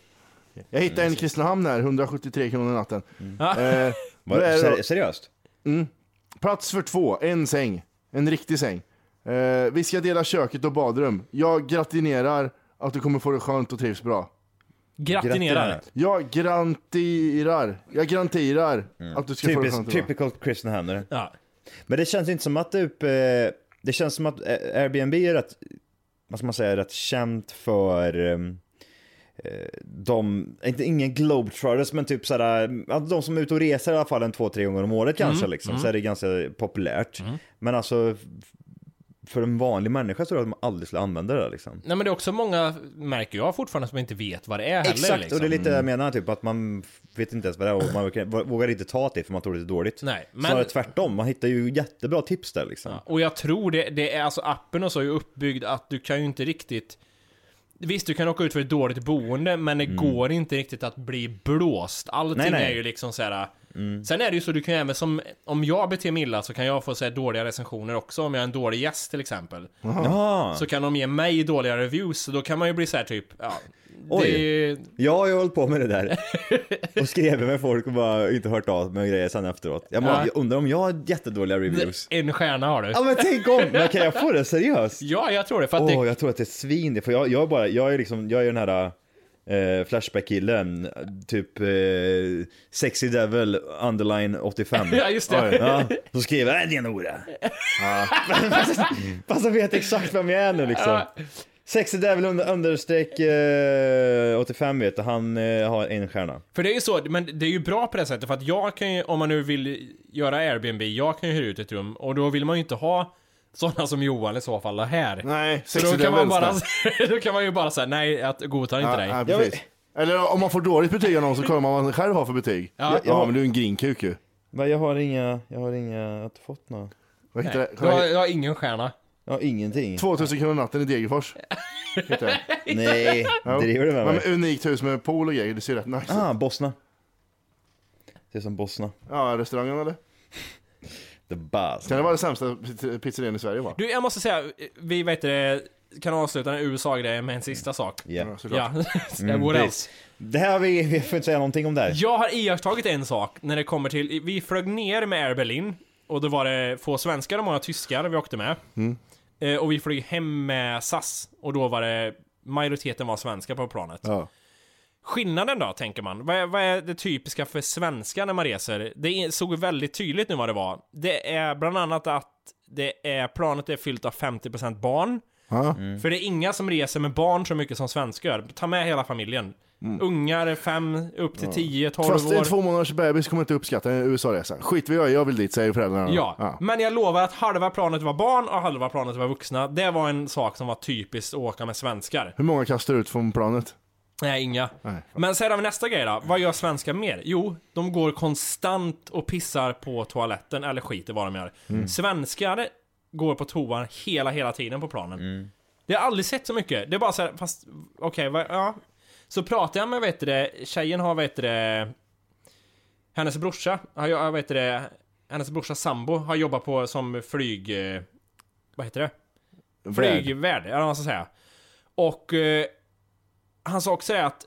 Speaker 3: Jag hittade en i Kristinehamn här, 173 kronor natten. Eh,
Speaker 7: Var,
Speaker 3: då är det
Speaker 7: ser, seriöst?
Speaker 3: Mm. Plats för två, en säng. En riktig säng. Eh, vi ska dela köket och badrum. Jag gratinerar att du kommer få det skönt och trivs bra.
Speaker 6: Gratinerar.
Speaker 3: Jag grantirar. Jag garanterar att du ska få det skönt
Speaker 7: Typiskt,
Speaker 3: och bra.
Speaker 7: typical Christian Hamner.
Speaker 6: Ja.
Speaker 7: Men det känns inte som att typ, eh, det känns som att eh, Airbnb är rätt, vad ska man säga, rätt känt för eh, eh, de, inte ingen globetrotters men typ såhär, att de som är ute och reser i alla fall en två, tre gånger om året kanske
Speaker 6: Mm,
Speaker 7: liksom, så är det ganska populärt. Men alltså, f- för en vanlig människa så tror jag att de aldrig skulle använda det där, liksom.
Speaker 6: Nej men det är också många, märker jag fortfarande, som inte vet vad det är heller.
Speaker 7: Exakt,
Speaker 6: liksom.
Speaker 7: och det är lite det jag menar, typ att man f- vet inte ens vad det är och man vågar- vågar inte ta till för man tror det är dåligt.
Speaker 6: Nej, men-
Speaker 7: Snarare tvärtom, man hittar ju jättebra tips där liksom.
Speaker 6: Och jag tror det, det är alltså appen och så är ju uppbyggd att du kan ju inte riktigt Visst, du kan åka ut för ett dåligt boende, men det går inte riktigt att bli blåst. Allting
Speaker 7: Mm. Nej, nej. Mm.
Speaker 6: är ju liksom så här. Sen är det ju så, du kan ju även som, om jag beter mig illa så kan jag få så här dåliga recensioner också, om jag är en dålig gäst till exempel.
Speaker 7: Jaha.
Speaker 6: Så kan de ge mig dåliga reviews, så då kan man ju bli så här typ, ja.
Speaker 7: Oj.
Speaker 6: Det,
Speaker 7: Ja, jag har hållit på med det där. Och skrev med folk och bara inte hört av mig och grejer sen efteråt. Jag, bara,
Speaker 6: Ja.
Speaker 7: jag undrar om jag har jättedåliga reviews.
Speaker 6: en stjärna har du.
Speaker 7: Ja men tänk om! Men kan jag få det seriöst?
Speaker 6: Ja, jag tror det, för att
Speaker 7: Åh,
Speaker 6: det,
Speaker 7: jag tror att det är svin det, för jag, jag, är bara, jag är liksom, jag är den här eh, Flashback-killen, typ eh, Sexy Devil Underline 85.
Speaker 6: Ja, just det.
Speaker 7: Ja, så skrev jag "Äh, det är Nora. Ja. Fast jag vet exakt vem jag är nu liksom. Sexy Devil under, understreck eh, 85 vet du, han eh, har en stjärna.
Speaker 6: För det är ju så, men det är ju bra på det sättet för att jag kan ju, om man nu vill göra Airbnb, jag kan ju hyra ut ett rum och då vill man ju inte ha sådana som Johan i så fall har här.
Speaker 3: Nej,
Speaker 6: så
Speaker 3: sexy
Speaker 6: då kan, man
Speaker 3: devils
Speaker 6: bara,
Speaker 3: där.
Speaker 6: då kan man ju bara säga nej, att godtar inte dig.
Speaker 3: Ja, precis. Eller om man får dåligt betyg av någon så kollar man vad man själv har för betyg.
Speaker 6: Ja.
Speaker 3: Ja, men du är en grinkuk ju.
Speaker 7: Men jag har inga, jag har inga, jag har inte fått några.
Speaker 3: Vad heter
Speaker 6: Nej,
Speaker 3: det?
Speaker 6: du har, du har ingen stjärna.
Speaker 7: Jag har ingenting.
Speaker 3: 2000 kronor natten i Degerfors. Heter det.
Speaker 7: Nej,
Speaker 3: Jo.
Speaker 7: driver du med
Speaker 3: Men
Speaker 7: mig?
Speaker 3: unikt hus med pool och grejer, det ser rätt nice ut.
Speaker 7: Ah, Bosna. Det är som Bosna.
Speaker 3: Ja, restaurangen eller?
Speaker 7: The Bas.
Speaker 3: Kan det vara den sämsta pizz- pizzerian i Sverige va?
Speaker 6: Du, jag måste säga, vi vet det, kan avsluta den USA-grejen med en sista sak.
Speaker 7: Ja.
Speaker 6: Ja,
Speaker 7: Mm,
Speaker 6: what
Speaker 7: det-
Speaker 6: else?
Speaker 7: Det här har vi, vi får inte säga någonting om det här.
Speaker 6: Jag har iakttagit en sak när det kommer till, vi flög ner med Air Berlin och då var det få svenskar och många tyskar vi åkte med.
Speaker 3: Mm.
Speaker 6: Eh, och vi flög hem med SAS och då var det majoriteten var svenskar på planet.
Speaker 3: Ja.
Speaker 6: Skillnaden då, tänker man? Vad är, vad är det typiska för svenskar när man reser? Det är- såg väldigt tydligt nu vad det var. Det är bland annat att det är, planet är fyllt av 50% barn.
Speaker 3: Ja.
Speaker 6: För det är inga som reser med barn så mycket som svenskar gör. Ta med hela familjen. Ungar 5, upp till 10, 12
Speaker 3: Mm. Fast en
Speaker 6: år.
Speaker 3: två månaders bebis kommer inte uppskatta en USA-resa. Skit vi gör, jag vill dit säger föräldrarna.
Speaker 6: Ja, men jag lovar att halva planet var barn och halva planet var vuxna. Det var en sak som var typiskt att åka med svenskar.
Speaker 3: Hur många kastar ut från planet?
Speaker 6: Nej, inga.
Speaker 3: Nej.
Speaker 6: Men sen har vi nästa grej då. Vad gör svenskar mer? Jo, de går konstant och pissar på toaletten eller skiter vad de gör. Svenskar går på toan hela, hela tiden på planen. Det har jag aldrig sett så mycket. Det är bara så här, fast okej, vad- ja. Så pratar jag med, vet du det, tjejen har, vet du det, hennes brorsa, har jag- jag vet du det, hennes brorsa sambo har jobbat på som flyg, eh, vad heter det? Flygvärd, eller vad man ska säga. Och eh, han sa också det att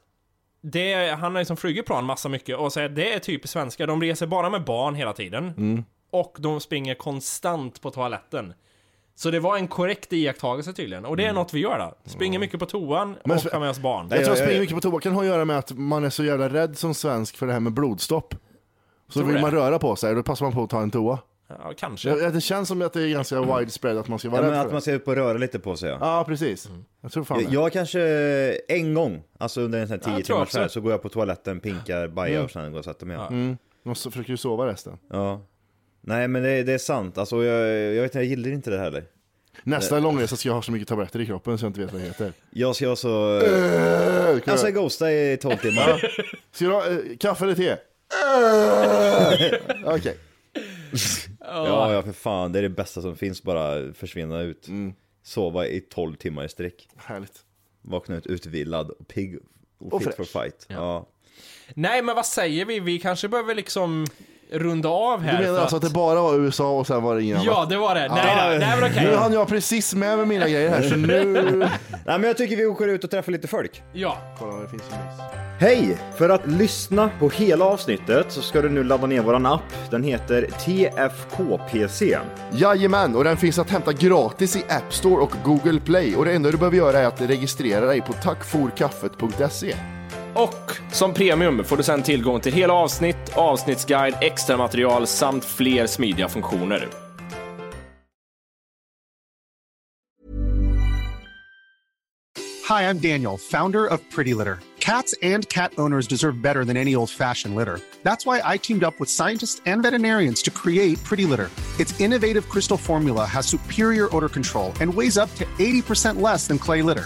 Speaker 6: det, han har liksom flugit plan massa mycket och säger att det är typ svenskar. De reser bara med barn hela tiden.
Speaker 3: Mm.
Speaker 6: Och de springer konstant på toaletten. Så det var en korrekt iakttagelse tydligen. Och det är något vi gör då. Springer mycket på toan
Speaker 3: Mm. Men
Speaker 6: och
Speaker 3: sp-
Speaker 6: tar med oss barn.
Speaker 3: Jag tror att
Speaker 7: jag-
Speaker 3: springa
Speaker 7: jag-
Speaker 3: mycket på tobaken har att göra med att man är så jävla rädd som svensk för det här med blodstopp. Så
Speaker 6: Tror
Speaker 3: vill
Speaker 6: det.
Speaker 3: man röra på sig och då passar man på att ta en toa.
Speaker 6: Ja, kanske.
Speaker 3: Det, det känns som att det är ganska widespread att man ska
Speaker 7: Ja,
Speaker 3: vara
Speaker 7: men
Speaker 3: rädd för
Speaker 7: att
Speaker 3: det.
Speaker 7: man ser upp och röra lite på sig ja.
Speaker 3: Ja, precis. Jag tror fan det.
Speaker 7: Jag, jag kanske en gång, alltså under en sån här
Speaker 6: Ja,
Speaker 7: 10
Speaker 6: jag tror
Speaker 7: timmars
Speaker 6: också.
Speaker 7: färd, så går jag på toaletten, pinkar, bajar och sen går jag och sätter mig igen.
Speaker 3: Man så- försöker ju sova resten.
Speaker 7: Ja. Nej men det, det är sant, alltså jag, jag vet inte, jag gillar inte det här heller.
Speaker 3: Nästa långresa ska jag ha så mycket tabletter i kroppen så jag inte vet vad det heter.
Speaker 7: Jag ska vara så...
Speaker 3: Äh,
Speaker 7: Jag ska
Speaker 3: ska,
Speaker 7: ghosta i 12 timmar.
Speaker 3: ska du ha eh, kaffe eller te? Äh, Okej.
Speaker 7: Ja, ja för fan, det är det bästa som finns, bara försvinna ut. Sova i 12 timmar i sträck.
Speaker 3: Härligt.
Speaker 7: Vakna ut utvilad, och pigg och,
Speaker 3: Och
Speaker 7: fit
Speaker 3: fräsch.
Speaker 7: for fight. Ja.
Speaker 6: Nej, men vad säger vi? Vi kanske behöver liksom runda av här.
Speaker 3: Du menar
Speaker 6: för
Speaker 3: alltså att det bara var USA och sen var det ingen
Speaker 6: Ja,
Speaker 3: annan?
Speaker 6: det var det. Nej, då. nej men okej.
Speaker 3: Nu hann jag precis med med mina grejer här så nu...
Speaker 7: Nej men jag tycker vi åker ut och träffar lite folk.
Speaker 6: Ja.
Speaker 3: Kolla, det finns ju mys.
Speaker 7: Hej! För att lyssna på hela avsnittet så ska du nu ladda ner våran app. Den heter TFKPC.
Speaker 3: Jajamän, och den finns att hämta gratis i App Store och Google Play. Och det enda du behöver göra är att registrera dig på tackforkaffet.se.
Speaker 8: Och som premium får du sedan tillgång till hela avsnitt, avsnittsguide, extra material samt fler smidiga funktioner.
Speaker 10: Hi, I'm Daniel, founder of Pretty Litter. Cats and cat owners deserve better than any old fashioned litter. That's why I teamed up with scientists and veterinarians to create Pretty Litter. Its innovative crystal formula has superior odor control and weighs up to 80% less than clay litter.